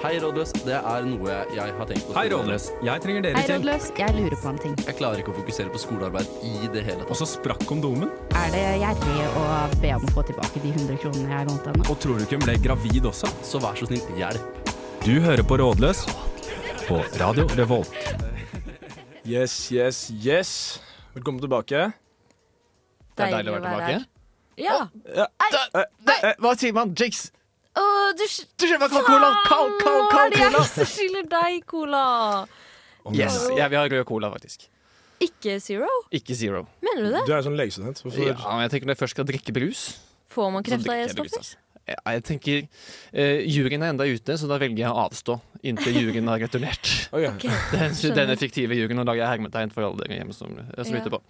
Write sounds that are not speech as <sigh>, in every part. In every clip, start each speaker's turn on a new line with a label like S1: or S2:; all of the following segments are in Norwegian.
S1: Hei, rådløs. Det er noe jeg har tenkt på.
S2: Hei, Rådløs. Jeg trenger dere
S3: Hei,
S2: til.
S3: rådløs. Jeg lurer på en ting.
S1: Jeg klarer ikke å fokusere på skolearbeid i det hele
S2: Og
S1: tatt.
S2: så sprakk kondomen.
S3: Er det gjerrig å be om å få tilbake de 100 kronene jeg lånte henne?
S2: Og tror du ikke hun ble gravid også?
S1: Så vær så snill, hjelp.
S2: Du hører på Rådløs på Radio Revolt.
S4: Yes, yes, yes. Velkommen tilbake.
S5: Det er deilig å være tilbake.
S6: Ja.
S5: Eh, Hva sier man? Jigs?
S6: Å, du sk-
S5: Du skjønner hva cola! Kald, kald,
S6: Hva er
S5: kald
S6: det jeg
S5: cola!
S6: som <laughs> skylder deg cola?
S5: Yes, jeg vil ha rød cola, faktisk.
S6: Ikke Zero?
S5: Ikke Zero.
S6: Mener du det?
S4: Du er sånn legestudent. Hvorfor
S5: Ja, men jeg tenker Når jeg først skal drikke brus
S6: Får man
S5: så drikker jeg brus,
S6: kreftstoffer?
S5: altså. Jeg, jeg tenker eh, Juryen er enda ute, så da velger jeg å avstå inntil juryen har returnert.
S4: Ok.
S5: Den,
S6: skjønner.
S5: denne fiktive juryen. Nå lager jeg hermetegn for alle dere hjemme som, eh, som
S6: Ja.
S5: lytter på.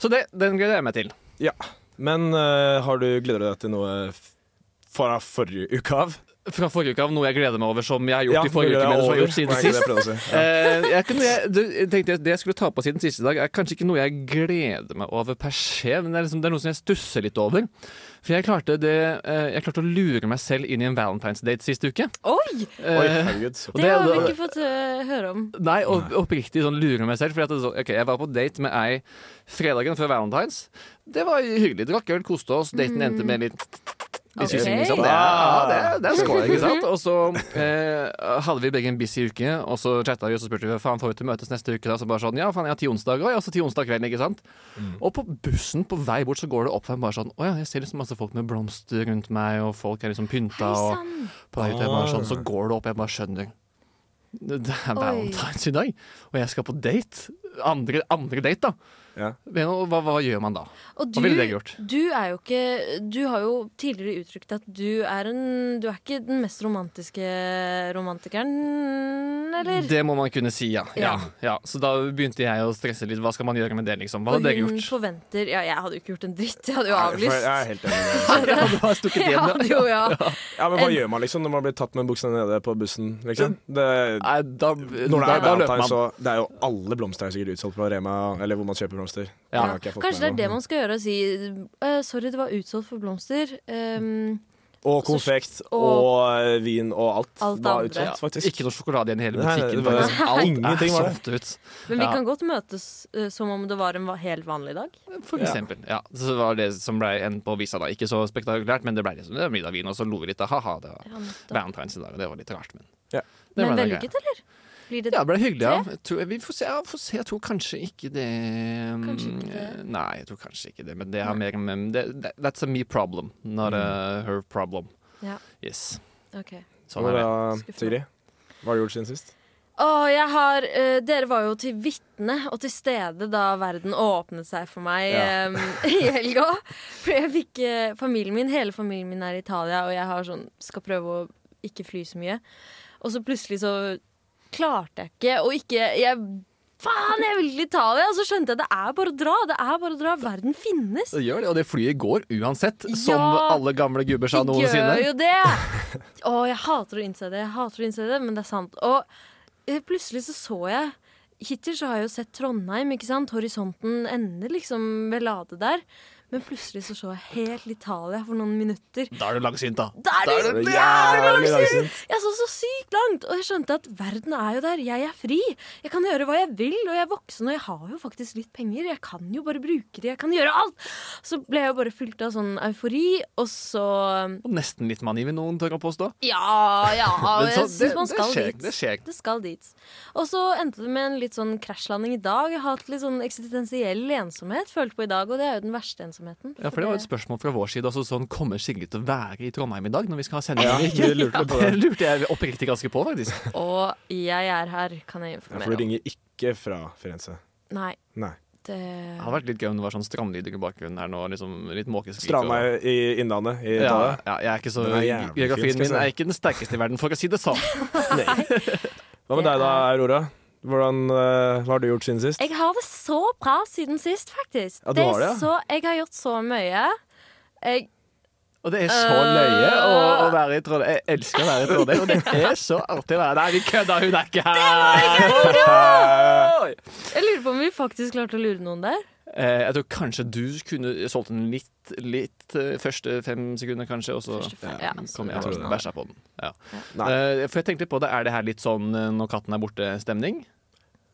S5: Så det, den gleder jeg meg til.
S4: Men eh, har du gleder du deg til noe f- fra forrige uke av?
S5: Fra forrige uke av noe jeg gleder meg over, som jeg har gjort
S4: Ja,
S5: i forrige uke.
S4: gleder
S5: Men som
S4: deg
S5: jeg har
S4: over.
S5: gjort siden
S4: Var
S5: sist
S4: ikke det jeg prøvde å si?
S5: Eh, jeg kunne, jeg, du, jeg tenkte at Det jeg skulle ta på siden siste dag, er kanskje ikke noe jeg gleder meg over per se, men det er, liksom, det er noe som jeg stusser litt over. For jeg klarte, det, eh, jeg klarte å lure meg selv inn i en valentinsdate sist uke.
S6: Oi!
S4: Oi,
S5: <laughs> Eh,
S4: herregud.
S5: og
S6: Det har vi
S5: det-
S6: ikke fått øh, høre om.
S5: Nei, og, oppriktig sånn lure meg selv. Fordi at det, er sånn, ok, Jeg var på date med ei fredagen før Valentines. Det var hyggelig. Drakk øl, koste oss. Daten endte med litt
S6: Ok.
S5: litt kyssing, liksom. Det, ja, det, det er skål, ikke sant? Og så eh, hadde vi begge en busy uke, og så chatta vi og så spurte vi faen får vi til møtes neste uke. Da? Så bare sånn, ja, faen, jeg har ti onsdager, og jeg har også ti onsdag kvelden, ikke sant? Og på bussen på vei bort så går det opp for meg bare sånn Å ja, jeg ser liksom masse folk med blomster rundt meg, og folk er liksom pynta.
S6: Hei
S5: og
S6: sann!
S5: på vei ut, jeg bare sånn, så går det opp, jeg bare skjønner. Det det er
S6: Oi.
S5: valentines i dag, og jeg skal på date. Andre, andre date, da.
S4: Ja.
S5: Men hva, hva gjør man da?
S6: Og
S5: Hva ville dere gjort?
S6: du er jo ikke Du har jo tidligere uttrykt at du er en Du er ikke den mest romantiske romantikeren, eller?
S5: Det må man kunne si, ja. ja.
S6: Ja.
S5: ja. Så da begynte jeg å stresse litt. Hva skal man gjøre med det, liksom? Hva
S6: Og
S5: hadde dere
S6: hun
S5: gjort?
S6: forventer Ja, jeg hadde jo ikke gjort en dritt. Jeg hadde jo
S4: For Jeg er
S6: avlyst.
S4: helt enig. med
S5: <laughs>
S4: deg.
S5: Ja, du har stukket
S6: Jeg
S5: igjen,
S6: hadde
S5: ja.
S6: jo, ja.
S4: Ja, men hva gjør man liksom når man blir tatt med buksene nede på bussen? Liksom? Det,
S5: Nei, da,
S4: når
S5: da,
S4: det er
S5: da løper
S4: valentine,
S5: man.
S4: så Det er jo alle blomster er sikkert utsolgt på Rema, eller hvor man kjøper blomster.
S5: Ja.
S4: Det har ikke jeg fått
S6: Kanskje det
S4: med
S6: er
S4: meg
S6: det
S4: nå.
S6: man skal gjøre, å si «Eh, sorry, det var utsolgt for blomster. Ehm,
S4: Og konfekt og, eh, vin og alt.
S6: Alt
S4: var
S6: andre.
S4: utsolgt, faktisk.
S5: Ikke noe sjokolade igjen i hele
S4: Nei,
S5: butikken.
S4: det var-
S5: faktisk. Alt
S4: Ingenting
S5: er
S4: var det.
S5: solgt ut.
S6: men vi
S5: Ja.
S6: kan godt møtes eh, som om det var en va- helt vanlig dag.
S5: For eksempel. Ja. Så det var det som ble en på visa da. Ikke så spektakulært, men det ble liksom det var middag vin, og så lo vi litt. da. Ha-ha, det var Valentine's i dag, og det var litt rart, men
S4: Ja.
S5: det
S6: Men
S5: ble da greit.
S6: vellykket, eller? Blir det
S5: Ja, det ble hyggelig, ja. Jeg tror, vi får se, ja, får se. Jeg tror kanskje ikke det um,
S6: Kanskje ikke det.
S5: Nei, jeg tror kanskje ikke det. Men det har mer med det, det- That's a me problem, not a her problem.
S6: Mm. Ja.
S5: Yes.
S6: Ok.
S5: Sånn er det.
S4: Og da, Sigrid, hva har du gjort siden sist?
S6: Åh, jeg har eh, Dere var jo til vitne og til stede da verden åpnet seg for meg
S4: Ja.
S6: eh, <laughs> i helga. For jeg fikk eh, familien min, hele familien min er i Italia, og jeg har sånn, skal prøve å ikke fly så mye. Og så plutselig så klarte jeg ikke å ikke jeg, Faen, jeg vil til Italia! Og så skjønte jeg det er bare å dra. Det er bare å dra. Verden finnes.
S5: Det gjør det, og det flyet går uansett, som
S6: Ja.
S5: alle gamle gubber sa
S6: De gjør
S5: noensinne.
S6: jo
S4: <laughs>
S6: det! Å, jeg hater å innse det, jeg hater å innse det, men det er sant. Og eh, plutselig så så jeg Hittil så har jeg jo sett Trondheim, ikke sant? Horisonten ender liksom ved Lade der. Men plutselig så så jeg helt Italia for noen minutter.
S5: Da er du langsynt, da.
S6: Da er det, jævlig
S4: Det er jævlig
S6: langsynt!
S4: langsynt.
S6: Jeg så så sykt langt, og jeg skjønte at verden er jo der. Jeg er fri. Jeg kan gjøre hva jeg vil, og jeg er voksen, og jeg har jo faktisk litt penger. Jeg kan jo bare bruke det, jeg kan gjøre alt! Så ble jeg jo bare fylt av sånn eufori, og så
S5: Og nesten litt manni, vil noen tørre å påstå.
S6: ja,
S5: <laughs>
S6: ja.
S5: Men
S6: Jeg
S5: så-
S6: syns
S5: det-
S6: man
S5: det
S6: skal
S5: skjer-
S6: dit.
S5: det skjer.
S6: skal dit. Og så endte det med en litt sånn krasjlanding i dag. Jeg har hatt litt sånn eksistensiell ensomhet, følte på i dag, og det er jo den verste ensomheten.
S5: Ja, for det var et spørsmål fra vår side også, sånn kommer Sigrid til å være i Trondheim i dag når vi skal ha sending? <laughs>
S4: Ja,
S5: eller ikke?
S4: du lurte litt på
S5: det lurte jeg oppriktig ganske på, faktisk.
S6: Og jeg er her, kan jeg
S4: Ja, for
S6: informere
S4: du
S6: om.
S4: ringer ikke fra Firenze.
S6: Nei,
S4: Nei.
S6: det
S5: Det hadde vært litt gøy om det var sånn strandlyder i bakgrunnen her nå, liksom litt måkeskrik. og-
S4: Stranda i Innlandet i
S5: Ja,
S4: Italia.
S5: ja, jeg er ikke så
S4: Den er jævlig fin,
S5: Geografien
S4: skal jeg
S5: min er
S4: si.
S5: ikke den sterkeste i verden, for å si det sånn.
S4: Hva med
S6: Det
S4: deg da, Aurora? Hvordan, eh, hva har du gjort siden sist?
S6: eh, Jeg har det så bra siden sist, faktisk.
S4: Ja, du har det, ja.
S6: er så, jeg har gjort så mye. Jeg,
S5: Og det er så løye å, å være i Trondheim. Jeg elsker å være i Trondheim, og det er så artig å være Nei, vi kødda, hun er ikke her!
S6: jeg lurer på om vi faktisk klarte å lure noen der.
S5: <laughs> Eh, jeg tror kanskje du kunne solgt den litt, litt eh, første fem sekunder, kanskje, og så
S6: Første fe-
S5: ja,
S6: ja.
S5: kom jeg
S4: tror
S5: og
S4: det.
S5: bæsja på den. Ja.
S4: Nei.
S5: Eh, for jeg tenkte litt på det, er det her litt sånn eh, når katten er borte-stemning?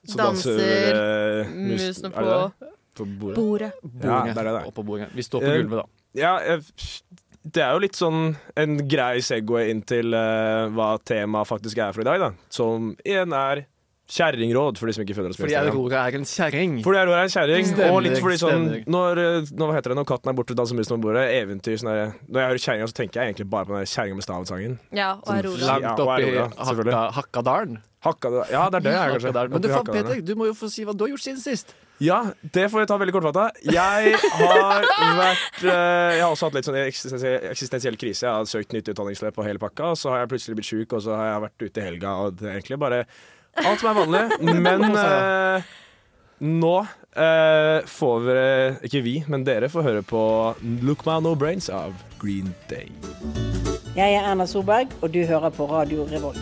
S4: Så
S3: Danser,
S4: danser eh, mus-
S6: Musene
S4: er det det?
S6: på
S4: På bordet.
S6: bordet.
S4: Ja, det er det, det.
S5: Oppå bordet. Vi står på
S4: Eh,
S5: gulvet, da.
S4: Ja, jeg, det er jo litt sånn en grei segway inn til eh, hva temaet faktisk er for i dag, da. Som igjen er kjerringråd, for de som ikke følger oss på
S5: Fordi jeg
S4: Instagram.
S5: og er en kjerring.
S4: Fordi jeg er en kjerring,
S5: Stemmer,
S4: og litt fordi sånn
S5: stemmer.
S4: når, eh, når, Hva heter det når katten er borte og danser musen på bordet? Eventyr. Sånn der, når jeg hører kjerringa, så tenker jeg egentlig bare på den der kjerringa med staven-sangen.
S6: Ja, og Aurora.
S4: Ja,
S5: Langt
S4: og
S5: oppi
S4: Aurora, selvfølgelig.
S5: hakka, Hakkadalen.
S4: Hakka det Ja, det er det jeg er, kanskje.
S5: Hakkadalen. Men
S4: Oppi
S5: du, faen,
S4: Hakkadalen, ja.
S5: Peter, du må jo få si hva du har gjort siden sist.
S4: Ja, det får jeg ta veldig kortfatta. Jeg har vært eh, Jeg har også hatt litt sånn eksistensiell, eksistensiell krise. Jeg har søkt nytt utdanningsløp og hele pakka, og så har jeg plutselig blitt sjuk, og så har jeg vært ute i helga, og det er egentlig bare alt som er vanlig. <laughs> Men eh, nå eh, får vi Ikke vi, men dere får høre på Look My No Brains av Green Day.
S7: Jeg er Erna Solberg, og du hører på Radio Revolt.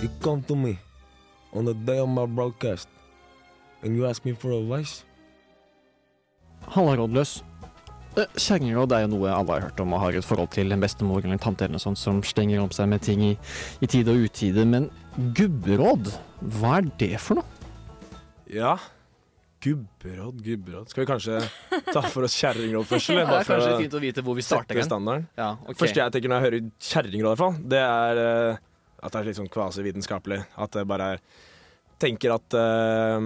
S8: You come to me on the day of my broadcast and you ask me for advice.
S5: Halla, rådløs. Eh, Kjerringråd er jo noe alle har hørt om og har et forhold til. En bestemor eller en tante eller noe sånt som slenger om seg med ting i, i tide og utide. Men gubberåd, hva er det for noe?
S4: Ja. Gubberåd, gubberåd Skal vi kanskje ta for oss kjerringråd først, eller? Bare for å
S5: fint å vite hvor vi
S4: sette standarden.
S5: Ja,
S4: første jeg tenker når jeg hører kjerringråd, i hvert fall, det er eh, at det er litt sånn kvasivitenskapelig. At det bare er Tenker at eh,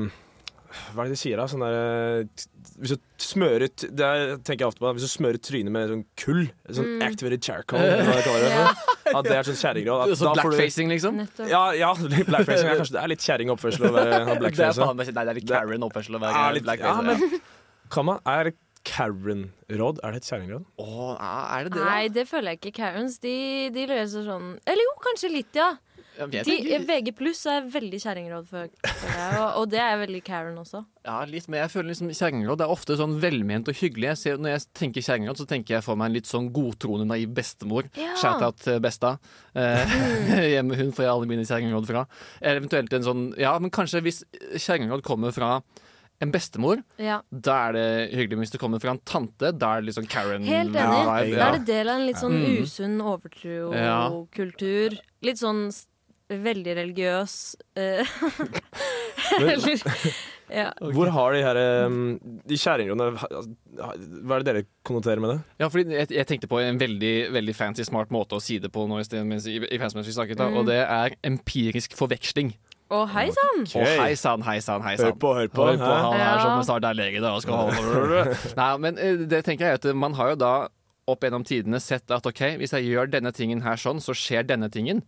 S4: Hva er det de sier, da? Sånn der eh, t- Hvis du smører t- Det er, tenker jeg ofte på. da. Hvis du smører trynet med sånn kull, sånn activated charcoal, eller hva de kaller <laughs> det,
S6: Ja,
S4: at det er sånn kjerringråd. at da får du-
S5: liksom?
S6: nettopp.
S4: Ja, ja, <laughs> litt blackfacing er kanskje Det er litt kjerringoppførsel å <laughs> være ha blackface.
S5: meg Nei, det er litt
S4: Det-
S5: oppførsel å
S4: Ja, litt-
S5: blackface,
S4: ja, men kan man Er Karen-råd Er det et kjerringråd?
S5: ja. Å, er det det?
S6: Nei, det føler jeg ikke. Karens de, de løser sånn Eller jo, kanskje litt, ja.
S5: Ja, men jeg
S6: De, eh,
S5: tenker-
S6: VG pluss er veldig kjerringråd, for- føler jeg. Og, og det er veldig Karen også.
S5: Ja, litt, men jeg føler liksom kjerringråd er ofte sånn velment og hyggelig. Jeg ser, når jeg tenker kjerringråd, så tenker jeg for meg en litt sånn godtroende, naiv bestemor.
S6: Ja. Mm.
S5: Shout-out til besta. Eh, <laughs> hjemme hun får jeg alle mine kjerringråd fra. Eller Eventuelt en sånn Ja, men kanskje hvis kjerringråd kommer fra en bestemor,
S6: Ja.
S5: da er det hyggelig. Men hvis det kommer fra en tante, da er det litt sånn Karen.
S6: Helt enig.
S5: Ja,
S6: Da
S5: ja.
S6: er det del av en litt sånn
S5: Mm.
S6: usunn
S5: Ja.
S6: overtrokultur. Litt sånn s- veldig religiøs eh, <laughs>
S4: Men-
S6: Eller Ja.
S4: Hvor har de her um, De kjerringrådene altså, Hva er det dere konnoterer med det?
S5: Ja, fordi jeg, jeg tenkte på en veldig, veldig fancy, smart måte å si det på nå i sted, mens, i, i pausen mens vi snakket,
S6: Mm.
S5: da, og det er empirisk forveksling.
S6: Å, hei sann!
S5: Og hei sann, hei sann, hei sann.
S4: Hør på, hør på.
S5: Hør på
S4: hæ?
S5: han her
S6: Ja.
S5: som snart er lege da, og skal holde
S4: <laughs>
S5: Nei, men eh, det tenker jeg at eh, man har jo da opp gjennom tidene sett at ok, hvis jeg gjør denne tingen her sånn, så skjer denne tingen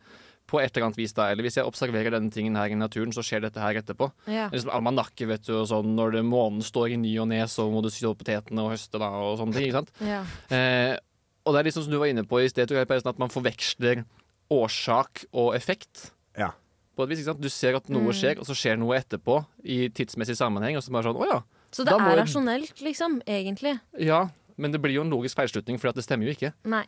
S5: på et eller annet vis da, eller hvis jeg observerer denne tingen her i naturen, så skjer dette her etterpå.
S6: Ja.
S5: Liksom almanakke, vet du, og sånn, når det, månen står i ny og ned, så må du sy opp potetene og høste da, og sånne ting, ikke sant?
S6: Ja.
S5: Eh, og det er litt sånn som du var inne på i sted, tror jeg, Pausen, at man forveksler årsak og effekt.
S4: Ja.
S5: På et vis, ikke sant? Du ser at
S6: Mm.
S5: noe skjer, og så skjer noe etterpå i tidsmessig sammenheng. Og så bare sånn, å ja,
S6: Så det
S5: Da må
S6: er
S5: jeg-
S6: rasjonelt, liksom. Egentlig.
S5: ja. Men det blir jo en logisk feilslutning, for det stemmer jo ikke.
S6: Nei.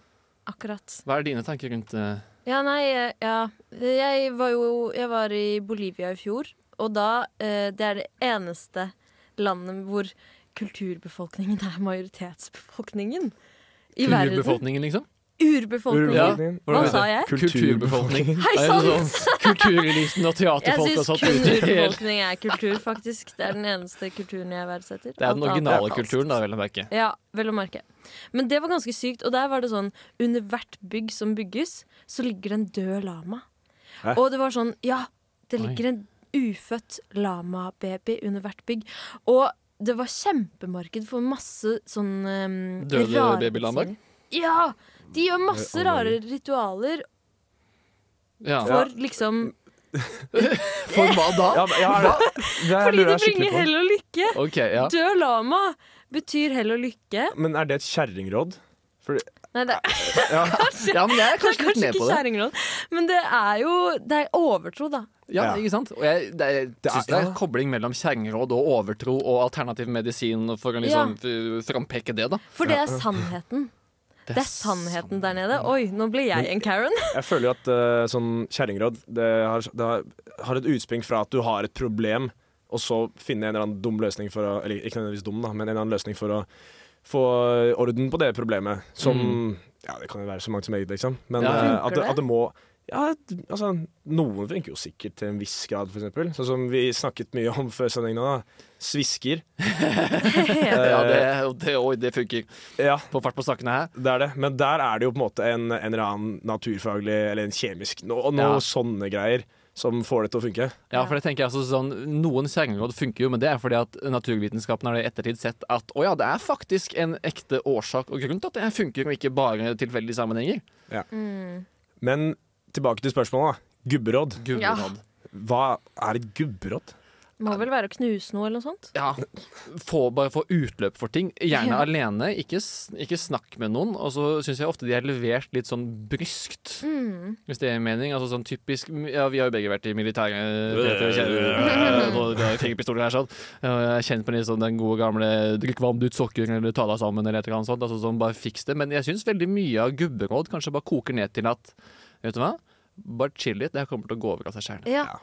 S6: Akkurat.
S5: Hva er dine tanker rundt eh,
S6: Ja, nei, eh, ja. Jeg var jo Jeg var i Bolivia i fjor, og da eh, Det er det eneste landet hvor kulturbefolkningen er majoritetsbefolkningen i verden.
S5: kulturbefolkningen, liksom?
S6: Urbefolkningen.
S5: Ja.
S6: Hva sa jeg?
S5: Kulturbefolkning.
S6: Hei
S5: Det er jo
S6: sann!
S5: sånn Kultureliten og
S6: Jeg
S5: teaterfolk og
S6: syns
S5: sånt.
S6: kun
S5: ute i hele-
S6: urbefolkning er kultur, faktisk. Det er den eneste kulturen jeg verdsetter.
S5: Det er den
S6: Alt annet
S5: originale
S6: falskt.
S5: kulturen, da, vel å merke.
S6: Ja, vel å merke. Men det var ganske sykt. Og der var det sånn under hvert bygg som bygges, så ligger det en død lama.
S4: Hæ?
S6: Og det var sånn Ja, det
S5: Oi.
S6: ligger en ufødt lamababy under hvert bygg. Og det var kjempemarked for masse sånn um,
S5: Døde babylammer?
S6: Ja! De gjør masse rare ritualer
S5: Ja.
S6: for liksom
S5: For hva da?
S4: Ja, men- ja, er det, det her
S6: Fordi
S4: lurer
S6: det
S4: jeg skikkelig
S6: bringer
S4: på.
S6: hell og lykke!
S5: OK, ja.
S6: Død lama betyr hell og lykke.
S4: Men er det et kjerringråd? Fordi-
S6: Nei, det
S5: ja. Men jeg er
S6: Det er
S5: kanskje litt
S6: kanskje
S5: med
S6: ikke
S5: på det.
S6: kjerringråd, men det er jo Det er overtro, da.
S5: Ja,
S4: Ja.
S5: ikke sant? Og jeg, det, jeg
S4: Det er-
S5: synes det er
S4: ja.
S5: en kobling mellom kjerringråd og overtro og alternativ medisin for å liksom f- frampeke det, da.
S6: For det er sannheten. Det er sannheten der nede. Oi, nå ble jeg en Karen.
S4: Jeg føler jo at eh, sånn kjerringråd det har, det har- har et utspring fra at du har et problem og så finne en eller annen dum løsning for å Eller ikke nødvendigvis dum, da, men en eller annen løsning for å få orden på det problemet. Som Ja, det kan jo være så mangt som eget, liksom. Men
S5: Ja.
S4: eh,
S6: Funker
S4: at, det,
S6: det?
S4: at det må ja, altså, Noen funker jo sikkert til en viss grad, f.eks. Sånn som vi snakket mye om før sendingen. da Svisker. Eh.
S5: Ja, det, det, oi, det funker.
S4: Ja,
S5: Få fart på sakene her.
S4: det er det. Men der er det jo på en måte en, en eller annen naturfaglig eller en kjemisk no, Noe
S5: Ja.
S4: sånne greier som får det til å funke.
S5: Ja, for det tenker jeg også sånn Noen kjerringråd funker jo, men det er fordi at naturvitenskapen har i ettertid sett at å ja, det er faktisk en ekte årsak og grunn til at det her funker, og ikke bare tilfeldige sammenhenger.
S6: Mm. <laughs>
S4: Men tilbake til spørsmålet. da Gubberåd.
S5: Gubberåd.
S4: Hva er et gubberåd?
S6: Må vel være å knuse noe eller noe sånt?
S5: Ja. Få, bare få utløp for ting. Gjerne
S6: Ja.
S5: alene, ikke, s- ikke snakk med noen. Og så syns jeg ofte de er levert litt sånn bryskt,
S6: Mm,
S5: hvis det er en mening. Altså sånn typisk Ja, vi har jo begge vært i militæret. Peter, kjenner- <laughs> Nå drar jeg fingerpistoler her, sånn. Og jeg er kjent på litt sånn den gode gamle drikk varmt ut sokker eller ta deg sammen eller et eller annet sånt. Altså sånn, bare fiks det. Men jeg syns veldig mye av gubberåd kanskje bare koker ned til at Vet du hva? Bare chill litt, det her kommer til å gå over av seg sjæl.
S6: Ja,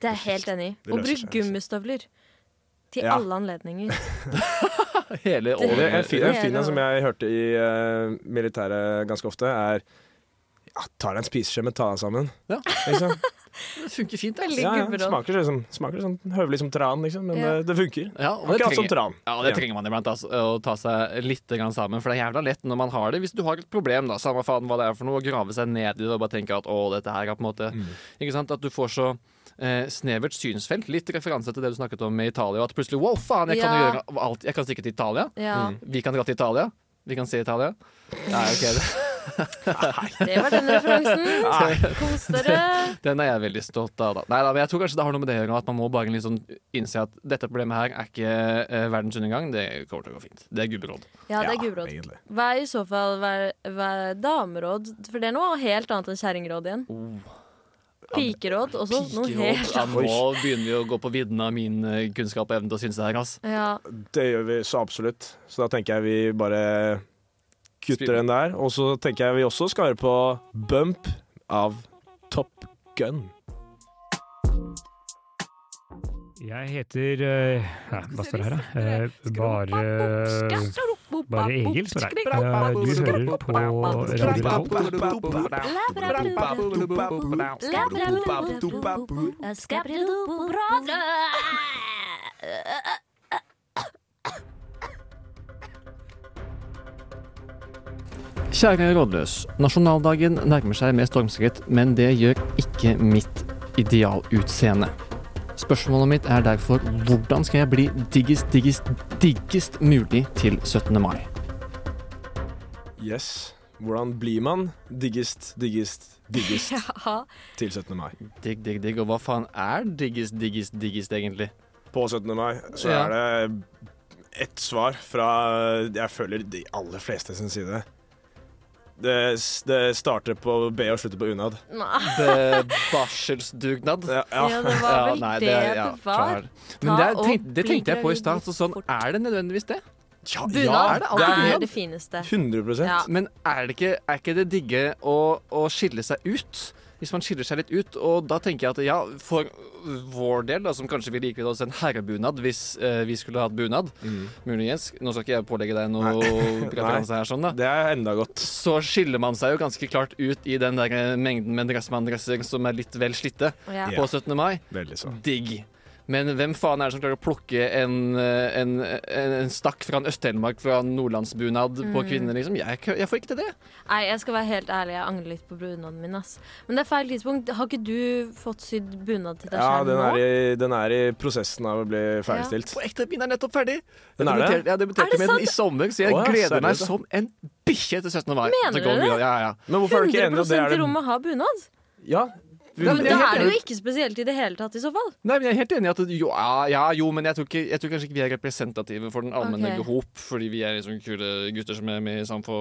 S6: det er jeg helt enig i.
S4: Det
S6: Og
S4: løser
S6: bruk
S4: seg, altså.
S6: gummistøvler. Til
S4: Ja.
S6: alle anledninger. <laughs>
S5: Hele
S4: Og det, en
S5: året.
S4: fin, en fin en som jeg hørte i eh, militæret ganske ofte, er ja, ta deg en spiseskje, men ta deg sammen.
S5: Ja.
S4: Liksom.
S5: <laughs> Det funker fint,
S6: Veldig
S5: altså.
S4: Ja, ja.
S6: gubberåd.
S4: Smaker, sånn, smaker sånn høvelig som tran, liksom, men
S6: Ja.
S4: eh, det funker.
S5: Ja, og det
S4: Akkurat som
S5: trenger,
S4: tran.
S5: ja, det trenger man iblant, altså, å ta seg litt grann sammen. For det er jævla lett når man har det. Hvis du har et problem, da, samme faen hva det er for noe, å grave seg ned i det og bare tenke at å, dette her er på en måte Ikke sant? At du får så eh, snevert synsfelt. Litt referanse til det du snakket om med Italia. At plutselig wow, faen, jeg kan jo
S6: Ja.
S5: gjøre alt. Jeg kan stikke til Italia.
S6: Ja,
S5: Vi kan dra til Italia. Vi kan se Italia. Nei, ok, det- <laughs>
S6: Det var den <laughs> referansen. Kos dere.
S5: Den er jeg veldig stolt av. Da. Nei, da, men jeg tror kanskje det har noe med det å gjøre. At man må bare liksom innse at dette problemet her er ikke eh, verdens undergang. Det kommer til å gå fint. Det er gubberåd.
S6: Ja, det er gubberåd.
S4: egentlig.
S6: Hva er i så fall hva- hva er dameråd? For det er noe helt annet enn kjerringråd igjen. Oh. Pikeråd også. Noe helt
S5: Ja, nå begynner vi å gå på vidden av min eh, kunnskap og evne til å synes det her. Ass.
S6: Ja,
S4: Det gjør vi så absolutt. Så da tenker jeg vi bare kutter den der. Og så tenker jeg vi også skal høre på Bump av Top Gun.
S9: Jeg heter eh, ja, Hva står det her, da? Eh, bare, eh, bare Egil, står det. her. Eh, du hører på Radio Revolt.
S5: Kjære rådløs. Nasjonaldagen nærmer seg med stormskritt, men det gjør ikke mitt idealutseende. Spørsmålet mitt er derfor hvordan skal jeg bli diggest, diggest, diggest mulig til 17. mai?
S4: Yes. Hvordan blir man diggest, diggest,
S6: <laughs>
S4: diggest
S6: ja.
S4: til 17. mai?
S5: Digg, digg, digg. Og hva faen er diggest, diggest, diggest,
S6: <laughs>
S5: egentlig?
S4: På 17. mai så
S5: Ja.
S4: er det ett svar fra jeg føler de aller fleste sin side. Det, det starter på B og slutter på unad.
S6: Nei.
S5: Be- Barselsdugnad?
S4: Ja,
S6: ja, det var vel
S5: nei,
S6: det
S5: ja,
S6: det var.
S5: klar. Men det, er-
S6: og
S5: tenk, det
S6: bli
S5: tenkte jeg på i
S6: gravid
S5: stad. Så sånn,
S6: fort.
S5: er det nødvendigvis det?
S4: Ja, ja,
S6: Bunad
S5: det
S6: er
S5: alltid
S6: det fineste.
S4: 100
S6: Ja.
S5: Men er det ikke, er ikke det digge å, å skille seg ut? Hvis man skiller seg litt ut, og da tenker jeg at ja, for vår del, da, som kanskje ville likt oss en herrebunad hvis eh, vi skulle hatt bunad, muligens Nå skal ikke jeg pålegge deg noe preferanse her, sånn da.
S4: Det er enda godt.
S5: Så skiller man seg jo ganske klart ut i den der eh, mengden med dressmanndresser som er litt vel slitte
S6: Ja.
S5: på 17. mai.
S4: Veldig så.
S5: Digg. Men hvem faen er det som klarer å plukke en, eh, en, en, en stakk fra en Øst-Telemark fra en nordlandsbunad på kvinner, liksom? Jeg, jeg får ikke til det.
S6: Nei, jeg skal være helt ærlig, jeg angrer litt på bunaden min. ass. Men det er feil tidspunkt. Har ikke du fått sydd bunad til deg
S4: Ja,
S6: selv
S4: den er,
S6: nå?
S4: i, den er i prosessen av å bli ferdigstilt.
S5: På ekte, min er nettopp ferdig.
S4: Den er det?
S5: Debuterte- Jeg debuterte
S6: Er det
S5: med den i sommer, så jeg
S4: Å, ja,
S5: gleder
S4: seriøst,
S5: meg
S4: ja.
S5: som en bikkje til 17. mai.
S6: Mener
S5: Til
S6: du det?
S5: Golden Girl. Ja, ja.
S4: Men hvorfor er du ikke enig i
S6: 100
S4: at det er
S6: i
S4: det?
S6: rommet har bunad?
S4: Ja, vi-
S6: Men da er det
S4: enig.
S6: jo ikke spesielt i det hele tatt, i så fall.
S5: Nei, men jeg er helt enig i at det- jo, ja, ja, jo, men jeg tror, ikke, jeg tror kanskje ikke vi er representative for den allmenne
S6: Ok.
S5: behop, fordi vi er liksom kule gutter som er med i Samfo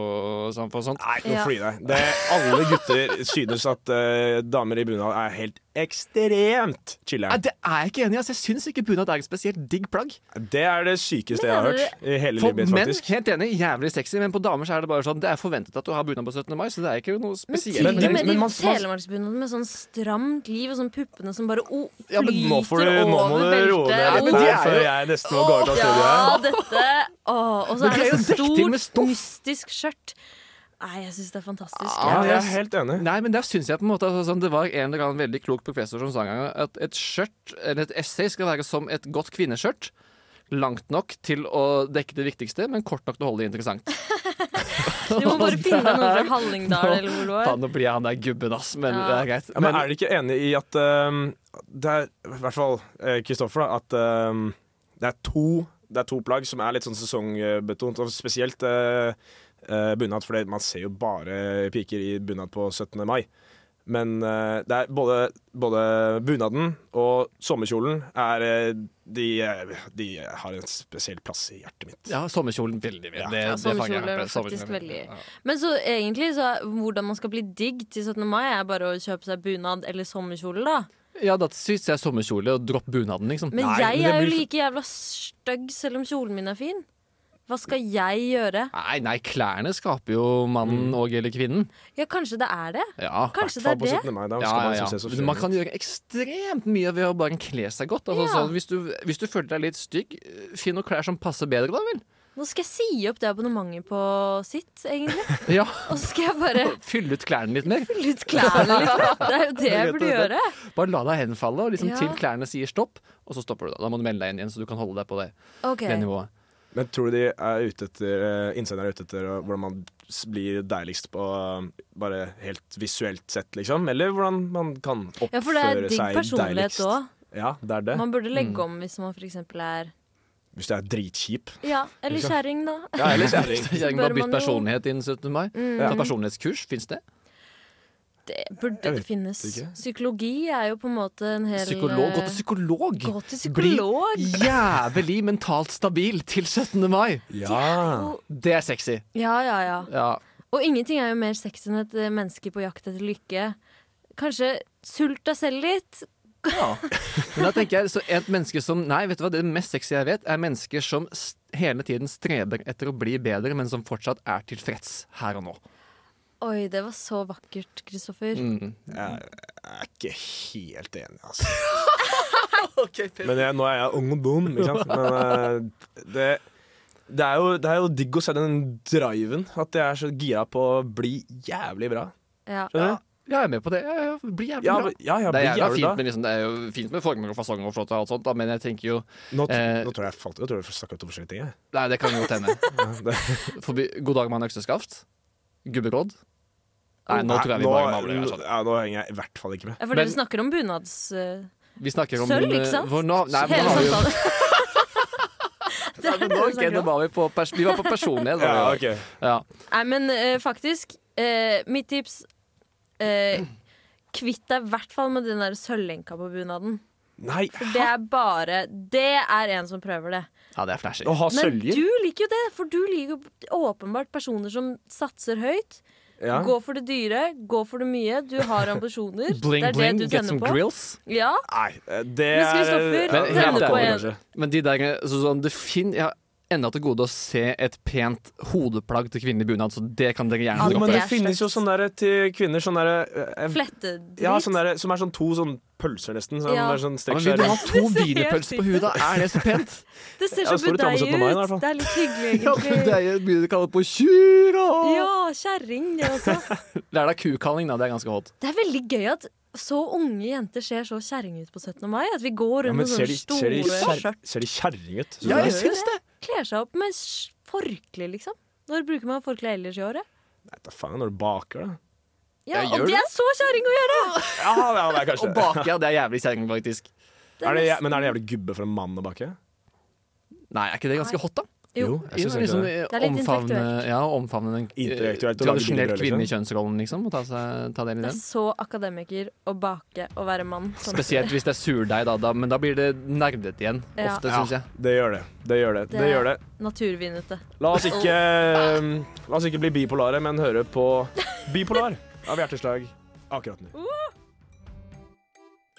S5: og sånt.
S4: Nei, nå
S6: Ja.
S4: flyr jeg. Det, alle gutter synes at eh, damer i bunad er helt ekstremt
S5: Nei,
S4: chiller'n.
S5: det er jeg ikke enig i. Altså, jeg syns ikke bunad er et spesielt digg plagg.
S4: Det er det sykeste jeg har
S6: Men er
S4: hørt i hele
S5: For
S4: livet mitt,
S5: menn,
S4: faktisk.
S5: helt enig, jævlig sexy, men på damer så er det bare sånn Det er forventet at du har bunad på 17. mai, så det er ikke noe
S6: Men
S5: spesielt.
S6: til og
S4: Men det-
S6: med de
S4: men man- man-
S6: telemarksbunadene med sånn stramt liv og sånn puppene som bare o
S5: Ja, men
S6: flyter
S4: Nå, får du, nå må
S6: over
S4: du
S6: beltet.
S4: roe
S5: men
S4: ned litt
S5: de
S4: her
S5: er
S4: før
S5: jo-
S4: jeg nesten må gå ut av studioet.
S6: Ja,
S4: her.
S6: dette Åh, Og så
S5: Men
S6: er
S5: de er
S6: det
S5: jo
S6: så
S5: dekket til med
S6: stort,
S5: stoff.
S6: mystisk skjørt. Nei, jeg syns det er fantastisk.
S4: Ja,
S5: Ja,
S6: jeg.
S4: jeg er helt enig.
S5: Nei, men der syns jeg på en måte altså, sånn, Det var en eller annen veldig klok professor som sa en gang at et skjørt, eller et essay, skal være som et godt kvinneskjørt. Langt nok til å dekke det viktigste, men kort nok til å holde det interessant.
S6: Du må
S4: <laughs>
S6: bare finne deg noen fra Hallingdal eller hvor du er.
S5: <laughs> Faen, nå blir jeg han der gubben, ass, men
S6: Ja.
S5: det er greit.
S4: Ja, men er dere ikke enig i at ehm, det er, i hvert fall eh, Kristoffer, da, at ehm, det er to Det er to plagg som er litt sånn sesongbetont, og spesielt eh, eh, bunad, for det- man ser jo bare piker i bunad på 17. mai. Men eh, det er både, både bunaden og sommerkjolen er eh, de, eh, de har en spesiell plass i hjertet mitt.
S5: Ja, sommerkjolen veldig. Ja, det,
S6: Ja,
S5: det fanger jeg
S6: sommerkjole er
S5: opp.
S6: faktisk
S5: Sommerkjolen,
S6: veldig-
S5: ja.
S6: Men så egentlig, så er- hvordan man skal bli digg til 17. mai, er bare å kjøpe seg bunad eller sommerkjole, da.
S5: Ja, da syns jeg sommerkjole og dropp bunaden, liksom.
S6: Men
S4: Nei,
S6: jeg
S4: men det
S6: er jo
S4: blir-
S6: like jævla stygg selv om kjolen min er fin. Hva skal jeg gjøre?
S5: Nei, nei, klærne skaper jo mannen og eller kvinnen.
S6: Ja, kanskje det er det?
S5: Ja.
S6: Kanskje det
S4: Fall
S6: er
S4: på
S6: det?
S4: 17. Mai, da,
S5: Ja,
S4: skal man
S5: ja,
S4: liksom se så
S5: ja. Man kan gjøre ekstremt mye ved å bare kle seg godt. Altså,
S6: Ja.
S5: sånn, hvis, du, hvis du føler deg litt stygg, eh, finn noen klær som passer bedre, da
S6: <laughs>
S5: vel.
S6: Nå skal jeg si opp det abonnementet på sitt, egentlig.
S5: Ja,
S6: Og så skal jeg bare
S5: Fyll ut klærne litt mer.
S6: fylle ut klærne litt. Det er jo det jeg burde gjøre.
S5: Bare la deg henfalle, og liksom
S6: Ja.
S5: til klærne sier stopp, og så stopper du. Da Da må du melde deg inn igjen, så du kan holde deg på det,
S6: Ok,
S5: det nivået.
S4: Men tror du de er ute etter eh, innsenderne er ute etter eh, hvordan man s- blir deiligst på eh, bare helt visuelt sett, liksom? Eller hvordan man kan oppføre
S6: Ja, for det er digg
S4: seg
S6: personlighet
S4: deiligst?
S6: òg.
S4: Ja, det er det.
S6: Man burde legge om hvis man f.eks. er
S4: Hvis du er dritkjip.
S6: Ja, eller kjerring, da.
S4: Ja, eller kjerring.
S5: <laughs> Jeg må
S6: bør
S5: bytte
S6: man jo- Mm.
S5: personlighet innen 17. mai. Ta personlighetskurs, fins det?
S6: Det burde det
S4: Jeg vet
S6: finnes.
S4: ikke.
S6: Psykologi er jo på en måte en hel
S5: Psykolog, Gå til
S6: eh,
S5: psykolog!
S6: Gå til psykolog!
S5: Bli jævlig mentalt stabil til 17. mai!
S4: <laughs> Ja.
S5: Det er sexy.
S6: Ja, ja, ja.
S5: Ja.
S6: Og ingenting er jo mer sexy enn et eh, menneske på jakt etter lykke. Kanskje sult deg selv litt.
S5: Ja. Men da tenker jeg så et menneske som Nei, vet du hva, det mest sexy jeg vet, er mennesker som s- hele tiden streber etter å bli bedre, men som fortsatt er tilfreds her og nå.
S6: Oi, det var så vakkert, Kristoffer.
S4: Jeg er ikke helt enig, altså. Men jeg, nå er jeg ung og dum, ikke sant. Men eh, det, det, er jo, det er jo digg å se den driven. At jeg er så gira på å bli jævlig bra.
S6: Ja.
S4: Skjønner du?
S5: Ja, jeg er med på det. Ja, ja, bli jævlig
S4: Ja,
S5: bra.
S4: ja, ja,
S5: det,
S4: bli
S5: er jævla
S4: jævlig bra.
S5: fint, med liksom, det er jo fint med former og fasonger og flott og alt sånt, da, men jeg tenker jo
S4: Nå, t-
S5: Eh,
S4: nå tror jeg jeg falt Nå tror jeg vi snakka om forskjellige ting.
S5: <laughs>
S4: Jeg.
S5: Nei, det kan jo hende.
S4: det-
S5: Forbi God dag, mann, økseskaft. Gubberåd. Nei, nå tror jeg vi
S4: nå-
S5: bare mabler. altså.
S4: Ja, nå henger jeg i hvert fall ikke med.
S6: Ja, for
S5: Men-
S6: dere snakker om bunads... eh,
S5: Vi snakker om
S6: Sølv,
S5: eh,
S6: ikke sant?
S5: vår nav- Nei,
S6: hele
S5: men nå har vi jo <laughs>
S6: samtalen. det
S5: Nei,
S6: er
S5: men
S6: <laughs> det
S5: nå-
S6: dere
S5: ok,
S6: snakker
S5: nå
S6: om.
S5: var vi, på pers vi var på
S4: <laughs>
S5: personlighet.
S4: Ja,
S5: var vi.
S4: ok
S5: ja.
S6: Nei, men eh, faktisk eh, Mitt tips eh, Kvitt deg i hvert fall med den der sølvlenka på bunaden.
S4: Nei,
S6: For det er bare Det er en som prøver det.
S5: ja, det er flashy.
S4: å ha
S6: Men
S4: søljer
S6: du liker jo det, for du liker jo åpenbart personer som satser høyt.
S4: ja.
S6: Gå for det dyre, gå for det mye. Du har ambisjoner.
S5: <laughs> Bling,
S6: det er
S5: bling,
S6: det du
S5: get some
S6: tenner på.
S5: grills.
S6: Ja,
S4: Nei, eh, det
S6: Men
S4: er
S6: Kristoffer,
S5: Men
S4: ja, det
S5: helt
S4: er
S5: ærlig.
S4: alkohol, kanskje.
S5: Men de der, så sånn, det fin, Jeg har enda til gode å se et pent hodeplagg til kvinnelig bunad, så det kan dere gjerne
S6: Ja,
S4: Jo,
S5: droppe.
S4: men det
S6: er
S4: finnes jo
S6: slekt.
S4: sånne der til kvinner Sånne der, eh,
S6: flettedrit.
S4: ja, sånne der som er sånn to sånn pølser, nesten. Som
S6: Ja.
S4: er sånn
S5: Ja,
S4: strekker
S5: men
S4: seg
S5: vil du ha
S4: rundt.
S6: Det ser
S5: to
S6: helt
S5: wienerpølser på huet, da? Er det så pent?
S6: <laughs> det ser
S4: Ja,
S6: så
S4: det står i Thomas
S6: budeig
S4: og Thomas i hvert
S6: ut.
S4: fall.
S6: Det er litt hyggelig,
S5: <laughs> Ja, men det
S6: egentlig.
S5: er jo- begynner å kalle det på kyr, og
S6: Ja, kjerring, det også.
S5: Det er da kukalling, da. Det er ganske hot.
S6: Det er veldig gøy at så unge jenter ser så kjerring ut på 17. mai. At vi går
S4: Ja,
S6: rundt
S4: men
S6: med sånne
S4: ser de, ser de,
S6: store
S4: kjer-
S6: skjørt.
S4: ser de kjerring ut?
S6: Ja, jeg syns
S5: det.
S6: Kler seg opp med s- forkle, liksom. Når bruker man forkle ellers i året?
S4: Nei, da faen, når du baker, da.
S6: Ja,
S5: Jeg gjør
S6: Og det er så kjerring å gjøre!
S4: Ja, ja, det
S5: <laughs> Og
S4: er kanskje det.
S5: baker, ja, det er jævlig kjerring, faktisk.
S4: Er det. jæ- Men er det jævlig gubbe for en mann å bake?
S5: Nei, er ikke det ganske hot, da?
S6: Jo.
S4: jeg synes
S5: Ja,
S4: egentlig
S5: liksom,
S4: det.
S6: Det er litt
S5: omfavne, ja, omfavne den eh,
S4: Intellektuelt å lage
S5: tradisjonelt
S4: bilder, liksom.
S5: kvinnelige kjønnsrollen, liksom. Og ta, seg, ta del i
S6: Det
S5: den.
S6: er sånn. så akademiker å bake og være mann. samtidig.
S5: Spesielt hvis det er surdeig, da, da, men da blir det nerdete igjen.
S6: Ja.
S5: Ofte, syns jeg.
S4: Det gjør det. Det gjør det.
S6: Det-
S4: det, gjør det.
S6: <laughs> Naturvinete.
S4: La oss ikke, um, la oss ikke bli bipolare, men høre på Bipolar av Hjerteslag akkurat nå.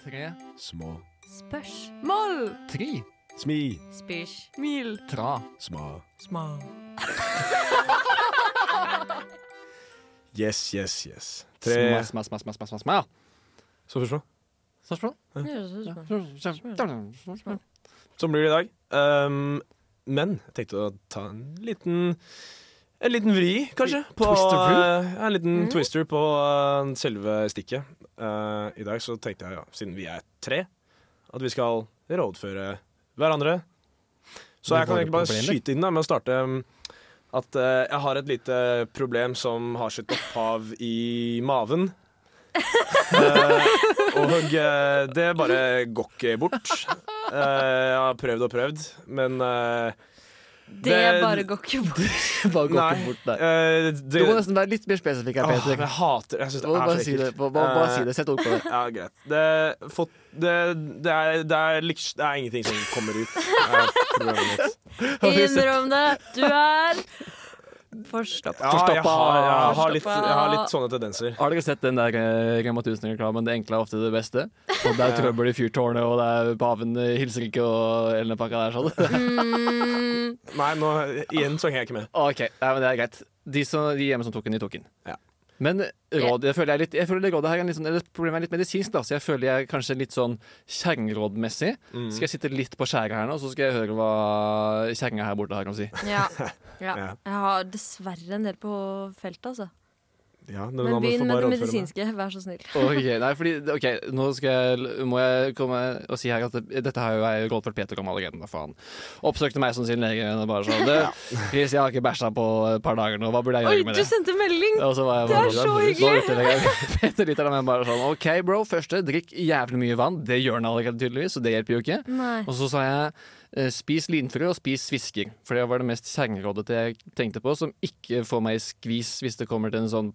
S5: tre,
S8: Små.
S6: Spørsmål!
S5: tri,
S8: Smi.
S6: Spysj.
S10: Mil.
S5: tra.
S8: Sma.
S4: Yes, yes, yes.
S5: Sma,
S4: Tre
S5: sma, sma, sma, sma, sma, sma.
S4: Så forstå.
S5: Spørsmål?
S4: Sånn blir det i dag. Ehm, men jeg tenkte å ta en liten En liten vri, kanskje. På,
S5: Twister-vri?
S4: ja, en liten
S6: Mm.
S4: twister på eh, selve stikket. Eh, I dag så tenkte jeg, ja, siden vi er tre, at vi skal rådføre hverandre. Så
S5: Med
S4: jeg kan
S5: våre
S4: egentlig bare
S5: problemer.
S4: skyte inn da, med å starte mm, at eh, jeg har et lite problem som har sitt opphav i
S5: <laughs>
S4: maven. Eh, og eh, det bare går ikke bort. Eh, jeg har prøvd og prøvd, men eh,
S6: Det bare går ikke bort.
S4: <laughs>
S5: Bare gå
S4: Nei.
S5: ikke bort der.
S4: eh,
S5: Du
S4: det,
S5: må nesten være litt mer spesifikk her,
S4: Åh,
S5: Peter.
S4: jeg hater Jeg syns det
S5: Bare,
S4: er
S5: bare,
S4: så
S5: si det.
S4: ekkelt.
S5: Bare, bare, bare
S4: Eh,
S5: si det. Sett ord på det.
S4: Ja, greit. Det, fått, det, det, er, det, er, liks- det er ingenting som kommer ut. Det
S5: <laughs>
S4: er problemet mitt.
S6: Innrøm det. Du er
S4: <laughs>
S6: forstoppa.
S4: Ja, jeg har, jeg, har litt,
S6: Forstoppa.
S4: jeg har litt sånne tendenser.
S5: Har dere sett den der eh, Rema 1000-reklamen 'Det enkle er ofte det beste'? Og det er trøbbel i fyrtårnet, og det er paven eh, hilser ikke, og hele den pakka der. sånn.
S6: Mm,
S4: Nei, nå, igjen så henger jeg ikke med.
S5: OK, nei, men det er greit. De, som, de hjemme som tok den, de tok den.
S4: Ja.
S5: Men råd, jeg føler, jeg er litt, jeg føler det rådet her er litt sånn, eller problemet er litt medisinsk, da, så jeg føler jeg er kanskje litt sånn kjerringrådmessig.
S6: Mm.
S5: Skal jeg sitte litt på skjæret her nå, så skal jeg høre hva kjerringa her borte har å si.
S6: ja. ja.
S4: Ja.
S6: Jeg har dessverre en del på feltet, altså.
S4: Ja, men
S6: Men
S4: da må du få
S6: begynn med
S4: bare
S6: det
S4: rådføre meg.
S6: medisinske, vær så snill. <laughs>
S5: Ok, nei, fordi, ok, nå skal jeg, må jeg komme og si her at det, dette har jo jeg rådført Peter om allerede. Da, faen. Oppsøkte meg som sin lege. og Bare
S6: <laughs>
S5: sånn, du, Chris, jeg har ikke bæsja på et par dager nå, hva burde jeg
S6: Oi,
S5: gjøre med
S6: du
S5: det?
S6: sendte melding!
S5: Og så var jeg
S6: Det er
S5: bare, sånn,
S6: så
S5: da,
S6: hyggelig!
S5: så ute, <laughs> jeg- Peter lytter meg bare sånn, ok bro, første, drikk jævlig mye vann. Det gjør han allerede tydeligvis, og det hjelper jo ikke.
S6: Nei.
S5: Og så sa jeg eh, spis linfrø og spis svisker, for det var det mest kjerringrådete jeg tenkte på, som ikke får meg i skvis hvis det kommer til en sånn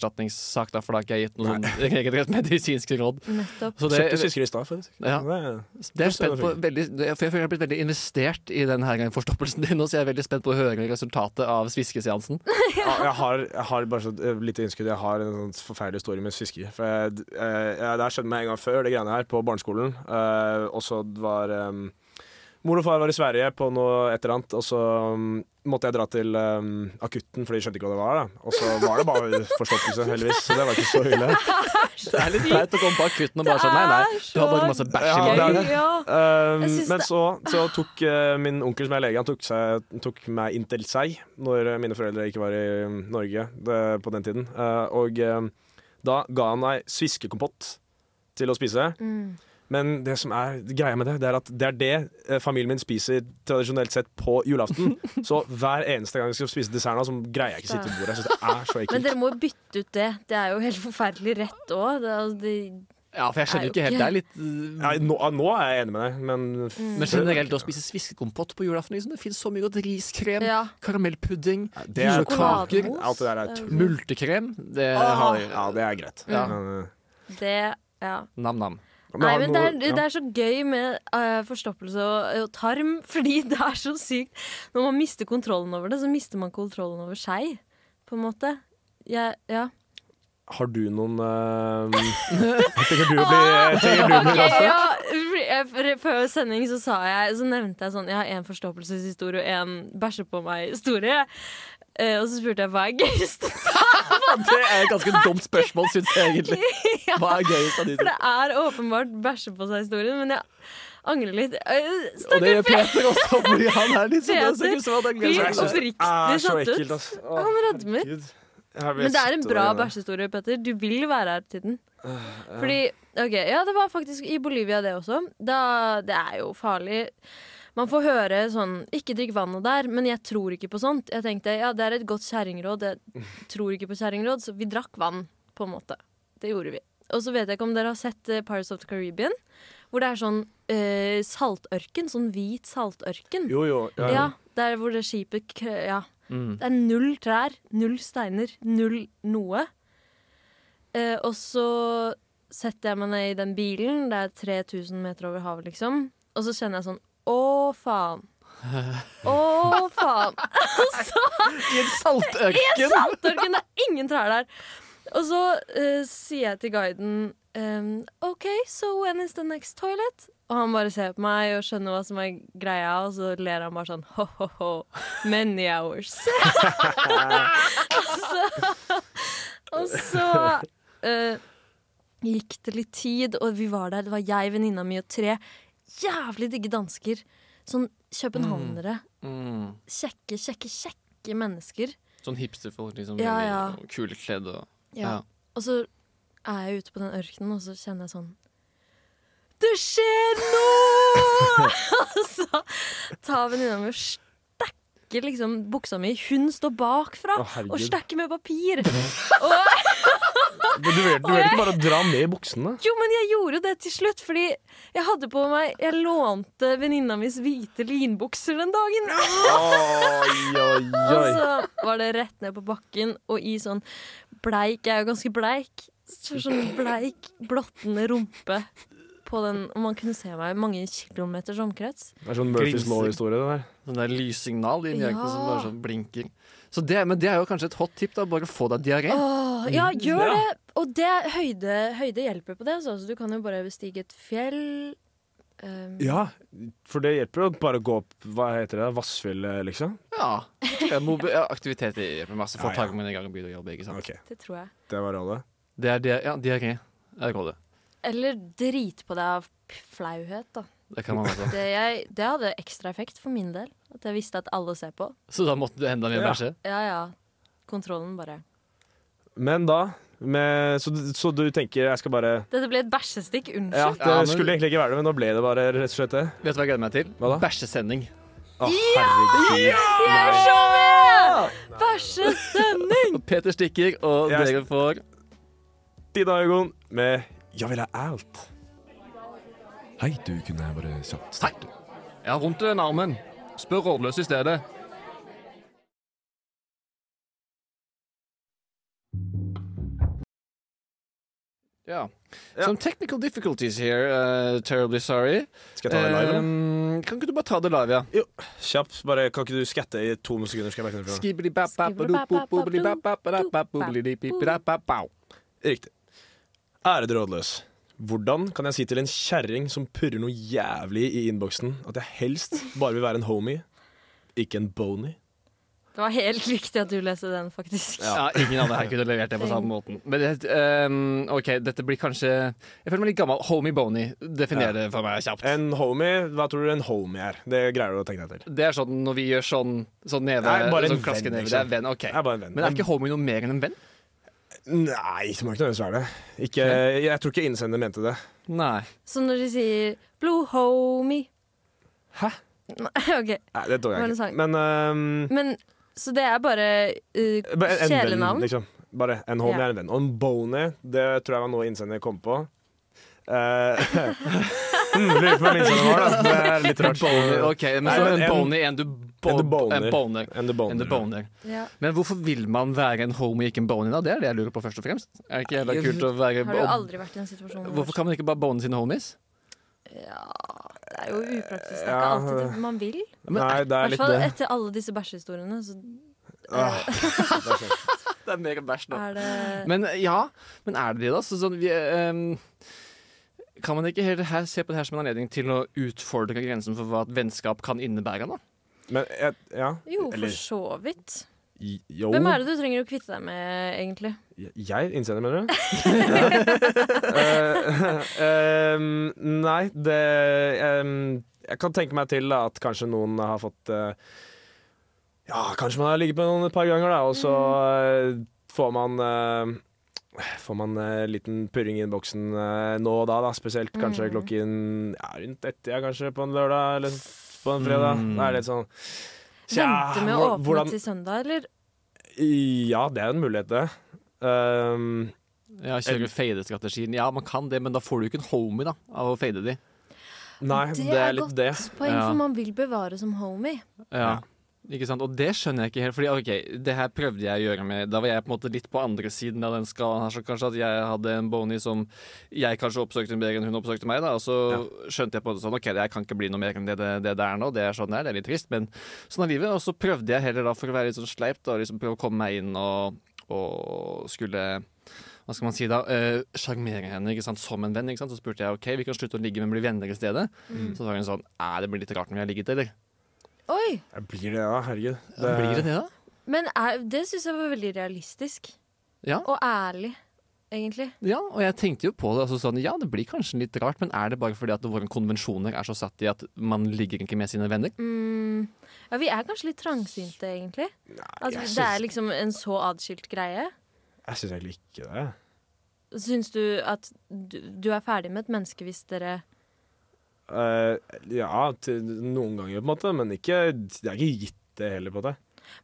S5: pasienterstatningssak, da, for da har ikke <laughs> jeg gitt noe sånn regelrett medisinske råd.
S6: Nettopp.
S5: Så det,
S4: Kjøpte siste i stad, faktisk.
S5: Ja.
S4: Det er-
S5: det er jeg spent på veldig, for jeg føler jeg har blitt veldig investert i den her forstoppelsen din nå, så jeg er veldig spent på å høre resultatet av sviskeseansen.
S4: Ja, jeg, har, jeg har bare så eh, lite innskudd. Jeg har en sånn forferdelig story med fiske. For jeg, d- eh, jeg, det har skjedd meg en gang før, det greiene her, på barneskolen. Eh, og så var eh, Mor og far var i Sverige på noe et eller annet, og så mm, måtte jeg dra til eh, akutten, for de skjønte ikke hva det var. da Og så var det bare forstoppelse, heldigvis. Så det var ikke så ille.
S5: Det <laughs> er litt flaut å komme på akutten og bare sånn, nei, nei, du har bare masse bæsj i
S4: Ja, det er
S5: magen.
S4: det.
S6: Ja.
S4: Um,
S6: Jeg syns
S4: men
S6: det-
S4: så, så tok eh, min onkel som er lege, han tok, seg, tok meg inn til seg når eh, mine foreldre ikke var i mm, Norge det, på den tiden. Eh, og eh, da ga han meg sviskekompott til å spise.
S6: Mm.
S4: Men det som er greia med det, det er at det er det eh, familien min spiser tradisjonelt sett på julaften.
S6: <laughs>
S4: så hver eneste gang jeg skal spise dessert nå, så greier jeg ikke å sitte ved bordet. Jeg synes det er så
S6: Men
S4: ekkelt.
S6: dere må jo bytte ut det. Det er jo helt forferdelig rett òg. Det, er altså, det-
S5: Ja, for jeg skjønner jo ikke helt, det er litt... eh,
S4: Ja, nå, nå er jeg enig med deg, men
S6: Mm.
S5: Men generelt å spise sviskekompott på julaften, liksom, det finnes så mye godt riskrem,
S6: ja.
S5: karamellpudding,
S4: det er
S5: julekaker,
S6: Sjokolademousse.
S4: alt det der er tull.
S5: multekrem. Det har vi.
S4: Ja, det er greit.
S5: Ja.
S4: Men, eh,
S6: det ja.
S5: Nam-nam.
S4: men
S6: Nei,
S4: har
S6: men
S4: du
S6: det
S4: noe-
S6: er,
S4: ja.
S6: det er så gøy med eh, forstoppelse og, og tarm, <laughs> fordi det er så sykt. Når man mister kontrollen over det, så mister man kontrollen over seg, på en måte. Jeg, ja.
S4: Har du noen eh,
S6: <laughs>
S4: Jeg tenker du
S6: Ah,
S4: blir, eh, jeg tenker du blir
S6: Ok,
S4: raskt.
S6: ja, jeg- for- Før sending så, sa jeg, så nevnte jeg sånn Jeg har én forstoppelseshistorie og én bæsje på meg-historie. Eh, og så spurte jeg hva er gøyest. <laughs>
S5: Det er et ganske dumt spørsmål, syns jeg egentlig. Hva er gøyest av de
S6: For
S5: to?
S6: det er åpenbart bæsje på seg-historien, men jeg angrer litt. Eh,
S5: Og det
S6: Stakkars
S5: gjør Peter også, fordi han er litt sånn det ser ut som at han
S6: fyr.
S5: gleder
S4: Jeg
S5: seg.
S4: synes det
S6: Oppriktig
S4: er Ah, så
S6: satt ut.
S4: ekkelt, ass. Å,
S6: Han rødmer.
S4: Gud. Jeg har blitt
S6: Men det er en
S4: satt
S6: bra
S4: over det.
S6: bæsjehistorie, Petter. Du vil være her til den. Fordi, ok, ja, det var faktisk i Bolivia det også. Da, det er jo farlig. Man får høre sånn 'ikke drikk vannet der', men jeg tror ikke på sånt. Jeg tenkte ja, det er et godt kjerringråd, jeg tror ikke på kjerringråd, så vi drakk vann, på en måte. Det gjorde vi. Og så vet jeg ikke om dere har sett eh, Pirates of the Caribbean, hvor det er sånn eh, saltørken, sånn hvit saltørken.
S4: Jo, jo. Ja,
S6: Ja,
S4: ja.
S6: der hvor det skipet krø- Ja.
S5: Mm.
S6: Det er null trær, null steiner, null noe. Eh, og så setter jeg meg ned i den bilen, det er 3000 meter over havet, liksom. Og så kjenner jeg sånn Å,
S4: <laughs>
S6: faen. Å, faen.
S5: I en saltørken!
S6: Saltørken, det er ingen trær der. Og så eh, sier jeg til guiden ehm, OK, so when is the next toilet? Og han bare ser på meg og skjønner hva som er greia, og så ler han bare sånn ho-ho-ho. Many hours. <laughs> og så, og så eh, gikk det litt tid, og vi var der. Det var jeg, venninna mi og tre jævlig digge dansker. Sånn københavnere.
S5: Mm.
S6: Kjekke, kjekke, kjekke mennesker.
S5: Sånn hipsterfolk, liksom.
S6: Ja,
S5: veldig
S6: ja.
S5: Kulekledd og
S6: Ja. Og så er jeg ute på den ørkenen, og så kjenner jeg sånn Det skjer
S4: <laughs>
S6: noe! <laughs> og så tar venninna mi og stakker liksom buksa mi. Hun står bakfra
S4: Å, herregud.
S6: og stakker med papir.
S4: Men du vurder du vurderer ikke bare å dra ned
S6: <laughs>
S4: buksene?
S6: Jo, men jeg gjorde jo det til slutt, fordi jeg hadde på meg Jeg lånte venninna mis hvite linbukser den dagen.
S4: Oi, oi,
S6: Og
S4: oi.
S6: så var det rett ned på bakken, og i sånn bleik Jeg er jo ganske bleik. Så sånn bleik, blottende rumpe på den Og man kunne se meg mange kilometers omkrets.
S4: Det er sånn Murphys law-historie, det der.
S5: Sånn der lyssignal i
S6: Ja.
S5: øynene som bare sånn blinker. Så det, men det er jo kanskje et hot tip, da. Bare få deg diaré.
S6: Åh, ja,
S4: Mm,
S6: gjør det! Og det, høyde, høyde hjelper på det. Altså. Så du kan jo bare bestige et fjell. Um,
S4: Ja, for det hjelper jo bare å gå opp Hva heter det? Vassfjellet, liksom?
S5: Ja. Eh, mobi- ja, Aktivitet hjelper masse. Få
S4: Ja, ja.
S5: taket min i gang og begynne å jobbe. ikke sant?
S4: OK,
S6: Det tror jeg.
S4: det var rådet.
S5: Det er dia- ja, diaré. Det er rådet.
S6: Eller drit på deg av p- flauhet, da.
S5: Det kan man også.
S6: Det, jeg, det hadde ekstra effekt for min del. At jeg visste at alle ser på.
S5: Så da måtte du enda mer
S4: Ja.
S5: bæsje?
S6: Ja ja. Kontrollen, bare.
S4: Men da med, så, du- så du tenker jeg skal bare
S6: Dette ble et bæsjestikk.
S4: Ja,
S6: Unnskyld.
S4: det
S5: Ja, men-
S4: skulle egentlig ikke være det, men nå ble det bare rett og slett det.
S5: Vet du hva jeg gleder meg til?
S4: Hva da?
S5: Bæsjesending.
S4: Å, herregud.
S6: Jeg er så med! Bæsjesending!
S5: Og Peter stikker, og
S4: Jeg-
S5: dere får
S4: Dida Øygon med 'Jeg vil ha alt'.
S8: Hei, du kunne jeg bare kjapt
S5: Hei! Jeg har vondt i den armen. Spør rådløs i stedet. Ja.
S4: Ja.
S5: Some technical difficulties here. uh, terribly sorry.
S4: Skal jeg ta det live, eller?
S5: Um, kan ikke du bare ta det live, ja?
S4: Ehm, Kjapt, bare Kan ikke du skatte i to sekunder? Skal jeg merke det fra. Riktig. Ærede rådløs. Hvordan kan jeg si til en kjerring som purrer noe jævlig i innboksen, at jeg helst bare vil være en homie, ikke en boney?
S6: Det var helt riktig at du leste den, faktisk.
S5: Ja, Ingen andre her kunne levert det på samme måten. Men det, um, OK, dette blir kanskje Jeg føler meg litt gammel. Homie Boney. Definer det for meg kjapt.
S4: En homie, hva tror du en homie er? Det greier du å tenke deg til.
S5: Det er sånn når vi gjør sånn, sånn neve,
S4: Nei, bare en
S5: sånn klaskeneve.
S4: venn, liksom.
S5: Det er venn, ok.
S4: Det er bare en venn.
S5: Men er ikke homie noe mer enn en venn?
S4: Nei, det må ikke nødvendigvis være det. Ikke, jeg tror ikke innsender mente det.
S5: Nei.
S6: Som når de sier 'blue homie'.
S4: Hæ?
S6: Nei, OK.
S4: Nei, det tror
S6: Var
S4: jeg
S6: det
S4: ikke.
S6: sang?
S4: Men øhm,
S6: Men så det er bare eh,
S4: bare en, en venn,
S6: kjælenavn?
S4: liksom. Bare en homie
S6: Ja.
S4: er en venn. Og en boney, det tror jeg var noe innsender kom på. Eh, <laughs> mm, Lurer på hvem innsender var, da. Det er litt rart.
S5: Boner, ok, men
S4: Nei,
S5: så
S4: men
S5: en
S4: en-
S5: boner, en du bo
S4: en du boner.
S5: En boner.
S4: And the boner.
S5: En du boner.
S6: Ja.
S5: Men hvorfor vil man være en homie, ikke en boner? da? Det er det jeg lurer på først og fremst. Er det ikke jævla kult å være
S6: Har du
S5: bo-
S6: aldri vært i en situasjon hvor
S5: Hvorfor kan man ikke bare bone sine homies?
S6: Ja, det er jo upraktisk. Det er ikke
S4: Ja.
S6: alltid det man vil. I
S4: Nei, det er
S6: hvert
S4: litt
S6: fall eh,
S4: det.
S6: etter alle disse bæsjehistoriene, så
S4: Åh, det er sånn. sant.
S5: Det er mer bæsj
S6: er det
S5: Men ja, men er det det, da? Så, sånn, vi, ehm, kan man ikke heller her, se på det her som en anledning til å utfordre grensen for hva et vennskap kan innebære? da?
S4: Men jeg, ja.
S6: Jo,
S4: Eller-
S6: for så vidt.
S4: Jo.
S6: Hvem er det du trenger å kvitte deg med, egentlig?
S4: Jeg? Innsender, mener du? <laughs> Eh, ehm, nei, det ehm, Jeg kan tenke meg til da, at kanskje noen har fått eh, Ja, kanskje man har ligget med noen et par ganger, da, og så eh, får man eh, Får man eh, liten purring i innboksen eh, nå og da, da, spesielt kanskje
S6: Mm.
S4: klokken ja, rundt ett-tida kanskje på en lørdag eller på en fredag. Det er litt sånn tja,
S6: Vente med å
S4: hvor-
S6: åpne
S4: hvordan-
S6: til søndag, eller?
S4: Ja, det er en mulighet, det. Ehm,
S5: Ja, Kjøre fadestrategien. Ja, man kan det, men da får du ikke en homie da, av å fade de.
S4: Nei, det, er, litt
S6: godt
S4: det.
S6: poeng,
S5: Ja.
S6: for man vil bevare som homie.
S5: Ja. Ikke sant? Og det skjønner jeg ikke helt. Fordi ok, det her prøvde jeg å gjøre med Da var jeg på en måte litt på andre siden av den skalaen her, så kanskje at jeg hadde en bony som jeg kanskje oppsøkte mer enn hun oppsøkte meg, da. Og så skjønte jeg på en måte sånn OK, jeg kan ikke bli noe mer enn det det, det det er nå. Det er sånn det er. Det er litt trist, men sånn er livet. Og så prøvde jeg heller da for å være litt sånn sleip, da, liksom prøve å komme meg inn og og skulle hva skal man si da, eh, sjarmere henne ikke sant, som en venn. ikke sant, Så spurte jeg ok, vi kan slutte å ligge, men bli venner i stedet. Så var hun sånn Æ, det blir litt rart når vi har ligget, eller?
S6: Oi!
S4: Jeg blir det, da. Herregud.
S5: Ja, Blir det det, da?
S6: Men er, det syns jeg var veldig realistisk.
S5: Ja.
S6: Og ærlig, egentlig.
S5: Ja, og jeg tenkte jo på det. Altså sånn, ja, det blir kanskje litt rart, men er det bare fordi at våre konvensjoner er så satt i at man ligger ikke med sine venner?
S6: Mm. Ja, vi er kanskje litt trangsynte, egentlig. At
S4: jeg
S6: det
S4: syns-
S6: er liksom en så atskilt greie.
S4: Jeg syns egentlig ikke det.
S6: Syns du at du, du er ferdig med et menneske hvis dere
S4: Eh, ja, til noen ganger, på en måte, men ikke, det er ikke gitt, det heller, på det.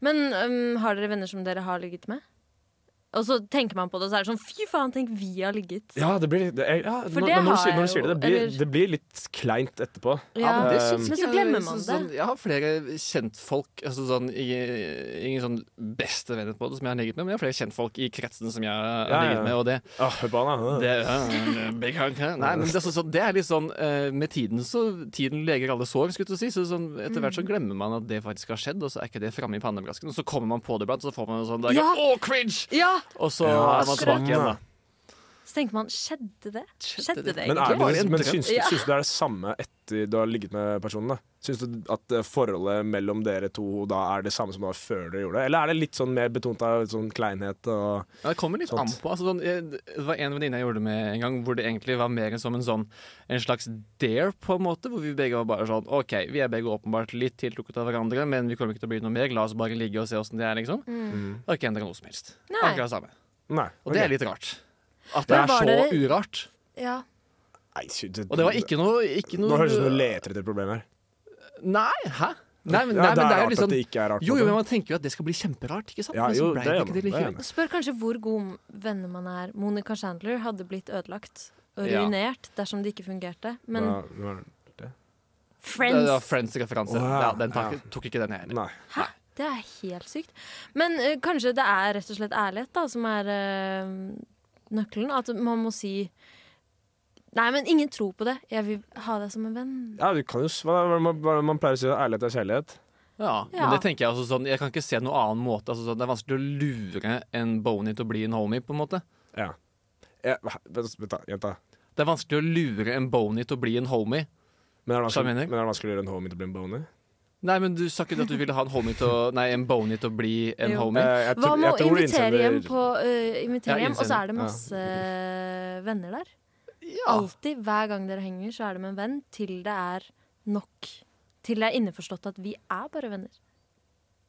S6: Men øhm, har dere venner som dere har ligget med? Og så tenker man på det, og så er det sånn fy faen, tenk vi har ligget.
S4: Ja, det blir det er, ja,
S6: For
S4: når,
S6: det
S4: når, du
S6: har
S4: sier, når
S6: jeg
S4: du sier det,
S6: jo,
S4: det blir,
S6: eller-
S4: det blir litt kleint etterpå.
S6: Ja,
S4: men det syns
S6: Men så
S5: jeg-
S6: glemmer man
S5: så-
S6: det.
S5: Sånn, jeg har flere kjentfolk altså sånn, i- Ingen sånn bestevenner på det som jeg har ligget med, men jeg har flere kjentfolk i kretsen som jeg har
S4: Ja, ja.
S5: ligget med, og det,
S4: Ah, hør på han, da.
S5: det, ja, big hunk, hæ? Nei, men det, er sånn- sånn, det er litt sånn eh, Med tiden så Tiden leger alle sår, skulle du si. Så sånn, etter hvert så
S6: Mm.
S5: glemmer man at det faktisk har skjedd, og så er ikke det framme i pannebrasken. Og så kommer man på det iblant, så får man en sånn dag,
S6: Ja.
S5: Å, cringe!
S6: Ja!
S5: Og så
S4: Ja,
S5: er man
S4: akkurat.
S5: tilbake igjen, da.
S6: Så tenker man skjedde det? Skjedde det,
S4: Men,
S6: egentlig?
S4: er
S5: Var det
S4: det,
S5: en
S4: men
S5: drøm?
S4: syns, du-
S6: Ja.
S4: syns du det er det samme etter du har ligget med personen? da? Syns du at eh, forholdet mellom dere to da er det samme som det var før dere gjorde det? Eller er det litt sånn mer betont av sånn kleinhet og
S5: Ja, det kommer litt
S4: Sånt.
S5: an på. Altså, sånn, eh, det var en venninne jeg gjorde det med en gang, hvor det egentlig var mer som en, sånn, en slags dare, på en måte. Hvor vi begge var bare sånn OK, vi er begge åpenbart litt tiltrukket av hverandre, men vi kommer ikke til å bli noe mer. La oss bare ligge og se åssen det er, liksom. Det har ikke endra noe som helst.
S6: Mm. Nei.
S5: Akkurat det samme.
S4: Nei.
S5: Og det
S4: ok.
S5: er litt rart. At det
S6: Men
S5: er
S6: var
S5: så
S6: dere-
S5: urart.
S6: Ja.
S4: Nei, sy- det-
S5: Og det var ikke noe, ikke noe
S4: Nå høres det ut som du leter etter problemer her.
S5: Nei, hæ? Nei, men,
S4: Ja,
S5: nei, men
S4: det er
S5: det er jo
S4: rart at
S5: liksom
S4: det ikke er rart.
S5: Jo,
S4: på
S5: jo,
S4: det.
S5: men man tenker jo at det skal bli kjemperart, ikke sant?
S4: Ja,
S5: men
S4: jo,
S5: så ble
S4: det
S5: det
S4: er
S5: ikke
S4: man,
S5: det
S4: det er
S5: likevel.
S4: man.
S6: Spør kanskje hvor gode venner man er. Monica Chandler hadde blitt ødelagt og
S5: Ja.
S6: ruinert dersom det ikke fungerte. Men
S4: Ja, men-
S5: Det
S6: Friends,
S5: var Friends-referanse.
S4: Wow.
S5: Ja, den tok, tok ikke den jeg heller.
S4: Nei.
S6: det er helt sykt. Men eh, kanskje det er rett og slett ærlighet da som er eh, nøkkelen. At man må si Nei, men ingen tror på det. Jeg vil ha deg som en venn.
S4: Ja, du kan jo s- hva, hva, hva man pleier å si? Ærlighet er kjærlighet.
S5: Ja,
S6: Ja.
S5: men det tenker jeg også sånn Jeg kan ikke se noen annen måte. Altså, sånn, det er vanskelig å lure en Boney til å bli en homie, på en måte.
S4: Ja. Ja, hva- Vent, vent da, jenta.
S5: Det er vanskelig å lure en Boney til å bli en homie.
S4: Men er det vanskelig-
S5: Skjønner jeg.
S4: men er det vanskelig å gjøre en homie til å bli en boner?
S5: Nei, men du sa ikke at du ville ha en homie til å Nei, en Boney til å bli en
S6: Jo.
S5: homie.
S4: Eh, jeg
S6: Hva
S4: tror-
S6: med
S4: jeg
S6: å
S4: tror det
S6: invitere hjem,
S4: innsender-
S6: på, eh, invitere
S5: Ja,
S6: hjem og så
S5: innsender.
S6: er det masse eh, venner der?
S5: Ja.
S6: Alltid, hver gang dere henger, så er det med en venn til det er nok. Til det er innforstått at vi er bare venner.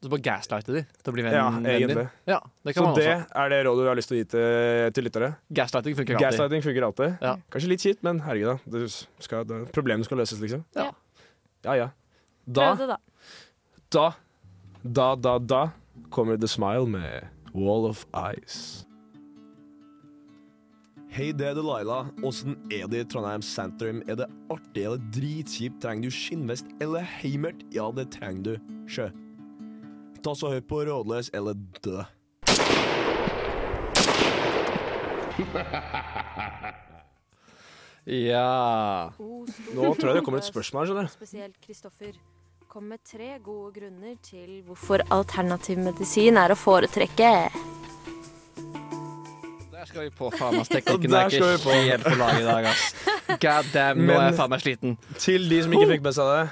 S5: Så bare gaslighte de til å bli
S4: Ja,
S5: vennen vennen din.
S4: egentlig.
S5: Ja, det kan
S4: Så
S5: man
S4: det
S5: også.
S4: er det rådet vi har lyst til å gi til, til lyttere.
S5: Gaslighting funker alltid.
S4: Gaslighting funker alltid.
S5: Ja.
S4: Kanskje litt kjipt, men herregud, da. Du skal, da problemet skal løses, liksom.
S5: Ja.
S4: ja. ja. Da,
S6: Prøv det, da.
S4: da, da, da, da kommer The Smile med Wall of Ice.
S8: Hei, det er Delilah. Åssen er det i Trondheim sentrum? Er det artig eller dritkjipt? Trenger du skinnvest eller heimert? Ja, det trenger du. Sjø. Ta så høyt på rådløs eller dø.
S4: <laughs>
S5: Ja.
S4: Nå tror jeg det kommer et spørsmål, skjønner
S6: <laughs>
S4: du.
S6: Spesielt Kristoffer. Kom med tre gode grunner til hvorfor alternativ medisin er å foretrekke.
S5: Der skal vi på, faen
S4: <laughs>
S5: ass. Teknikken
S4: Der
S5: er ikke
S4: skal vi på.
S5: helt på lag i dag, ass. God damn, nå er
S4: Men-
S5: jeg faen meg sliten.
S4: Til de som ikke fikk med seg det.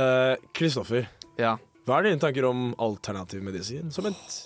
S4: eh, Kristoffer,
S5: Ja.
S4: hva er dine tanker om alternativ medisin som et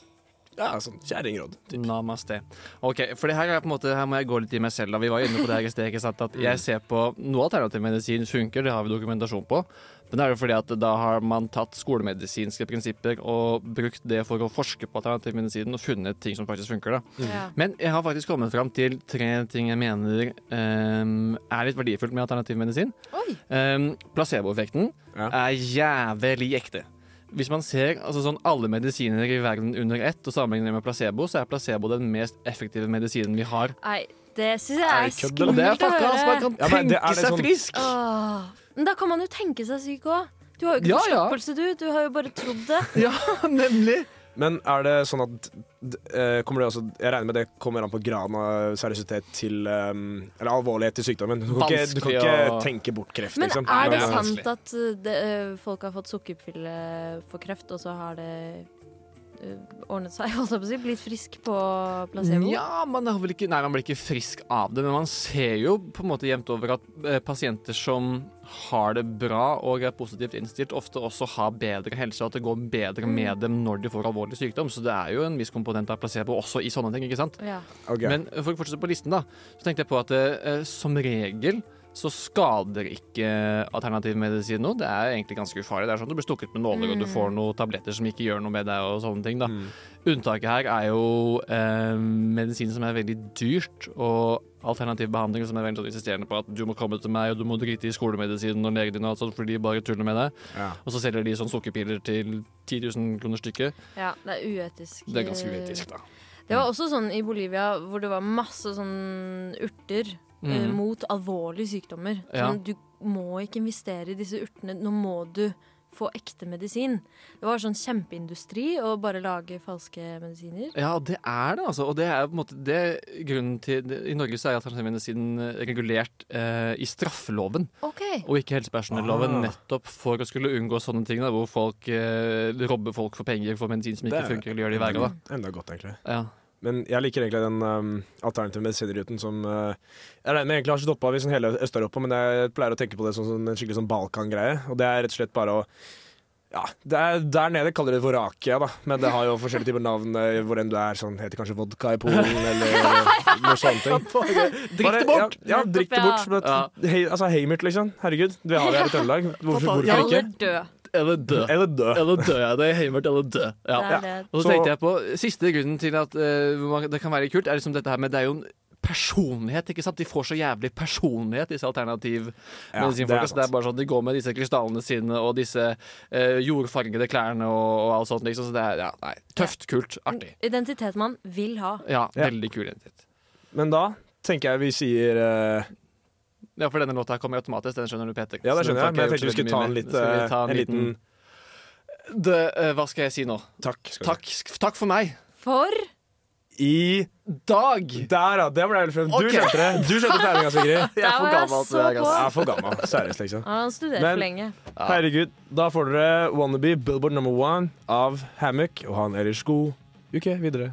S4: ja, sånn kjerringråd?
S5: Namaste. Ok, for det her er på en måte Her må jeg gå litt i meg selv. da Vi var inne på det her i sted. ikke sant? At jeg ser på Noe alternativ medisin funker, det har vi dokumentasjon på. Men det er jo fordi at da har man tatt skolemedisinske prinsipper og brukt det for å forske på alternativ medisin og funnet ting som faktisk funker. da
S6: Ja.
S5: Men jeg har faktisk kommet fram til tre ting jeg mener ehm, er litt verdifullt med alternativ medisin.
S6: Oi.
S5: Um, Placeboeffekten
S4: Ja.
S5: er jævlig ekte. Hvis man ser altså sånn, alle medisiner i verden under ett og sammenligner med placebo, så er placebo den mest effektive medisinen vi har.
S6: Nei, det syns jeg
S4: Nei,
S6: er
S4: kødder du?
S5: Og
S6: skummelt
S5: det
S6: å
S5: er fucka, altså, man
S6: høre.
S5: kan
S4: Ja, men
S5: tenke
S4: det- er det
S5: seg
S4: sånn-
S5: frisk!
S6: Åh. Men da kan man jo tenke seg syk òg. Du har jo ikke
S5: Ja, ja.
S6: forstoppelse, du. Du har jo bare trodd det.
S5: Ja, <laughs> nemlig!
S4: Men er det sånn at d- eh, kommer det også, Jeg regner med det kommer an på graden av seriøsitet til ehm, Eller alvorlighet til sykdommen. Du kan ikke, du kan
S5: Vanskelig
S4: ikke
S5: å-
S4: tenke bort kreft,
S6: Men
S4: liksom.
S6: er det
S5: Ja,
S6: sant eh,
S5: vanskelig.
S6: at uh, det, uh, folk har fått sukkerpille for kreft, og så har det eh, ordnet seg, <laughs> holdt jeg på å si. Blitt frisk på placebo.
S5: Ja, man, er vel ikke, nei, man blir ikke frisk av det, men man ser jo på en måte jevnt over at eh, pasienter som har det bra og er positivt innstilt, ofte også har bedre helse, og at det går bedre
S6: Mm.
S5: med dem når de får alvorlig sykdom. Så det er jo en viss komponent av placebo også i sånne ting, ikke sant?
S6: Ja.
S4: Ok.
S5: Men eh, for å fortsette på listen, da, så tenkte jeg på at eh, som regel så skader ikke eh, alternativ medisin noe. Det er egentlig ganske ufarlig. Det er sånn at Du blir stukket med nåler, og du får noen tabletter som ikke gjør noe med deg. og sånne ting da. Unntaket her er jo eh, medisin som er veldig dyrt, og alternativ behandling som er veldig sånn insisterende på at du må komme til meg, og du må drite i skolemedisinen og legen din, og alt sånt, for de bare tuller med deg.
S4: Ja.
S5: Og så selger de sånn sukkerpiller til 10 000 kroner stykket.
S6: ja, det er uetisk.
S5: Det er ganske uetisk, da.
S6: Det var også sånn i Bolivia hvor det var masse sånn urter eh,
S5: Mhm.
S6: mot alvorlige sykdommer.
S5: Ja.
S6: Sånn, du må ikke investere i disse urtene. Nå må du få ekte medisin. Det var sånn kjempeindustri å bare lage falske medisiner.
S5: Ja, det er det, altså. Og det er på en måte det er grunnen til det, I Norge så er alternativmedisinen regulert eh, i straffeloven
S6: OK.
S5: og ikke helsepersonelloven,
S4: Ah.
S5: nettopp for å skulle unngå sånne ting da, hvor folk eh, robber folk for penger for medisin som ikke
S4: Det er-
S5: funker, eller gjør de verre.
S4: Enda godt, egentlig.
S5: da. Ja.
S4: Men jeg liker egentlig den um, alternative medisinruten som uh, Jeg regner med egentlig har stoppa hvis sånn hele Øst-Europa, men jeg pleier å tenke på det som, som en skikkelig sånn Balkan-greie. Og det er rett og slett bare å ja, det er, Der nede kaller de det Vorakia, da. Men det har jo forskjellige typer navn eh, hvor enn du er. Sånn heter kanskje vodka i
S5: <laughs>
S4: Polen, eller noe sånt. Drikk
S5: det bort!
S4: Ja, ja drikk det bort. Men, hei, altså Heimert, liksom. Herregud. Det har vi her i Trøndelag. Hvorfor, hvorfor
S6: Alle
S4: ikke?
S6: død.
S5: Eller dø.
S4: Eller dø.
S5: Eller dø, ja. Det er heimert eller dø.
S6: Det
S5: Ja.
S6: er det.
S5: Og så
S4: Så-
S5: tenkte jeg på Siste grunnen til at eh, hvor man- det kan være kult, er liksom dette her med Det er jo en personlighet, ikke sant? De får så jævlig personlighet, disse alternativ
S4: Ja,
S5: medisinfolka.
S4: det er
S5: Så det er bare sånn de går med disse krystallene sine og disse eh, jordfargede klærne og, og alt sånt, liksom. Så det er ja, nei, tøft, kult, artig.
S6: Identitet man vil ha.
S5: Ja,
S4: Ja.
S5: veldig kul identitet.
S4: Men da tenker jeg vi sier eh,
S5: Ja, for denne låta her kommer automatisk, den skjønner du, Peter.
S4: Ja, det
S5: Så den
S4: skjønner jeg,
S5: får
S4: men jeg
S5: ikke
S4: tenkte vi
S5: gjort så
S4: skulle
S5: veldig
S4: ta
S5: mye med. Skal
S4: en, litt,
S5: vi
S4: eh,
S5: ta
S4: en liten
S5: det, eh, Hva skal jeg si nå?
S4: takk. skal du ha.
S5: Takk, sk- takk for meg.
S6: For
S4: I
S5: Dag!
S4: Der, ja. Det ble jeg litt frem. Du
S5: Ok.
S4: skjønte det. Du
S5: <laughs>
S4: skjønte tegninga, Sigrid.
S6: der var jeg så på.
S4: Jeg er for gammel. Seriøst, liksom.
S6: Han har studert
S4: Men-
S6: for lenge.
S4: Herregud. Da får dere Wannabe Billboard number one av Hammock. Og han ellers god uke videre.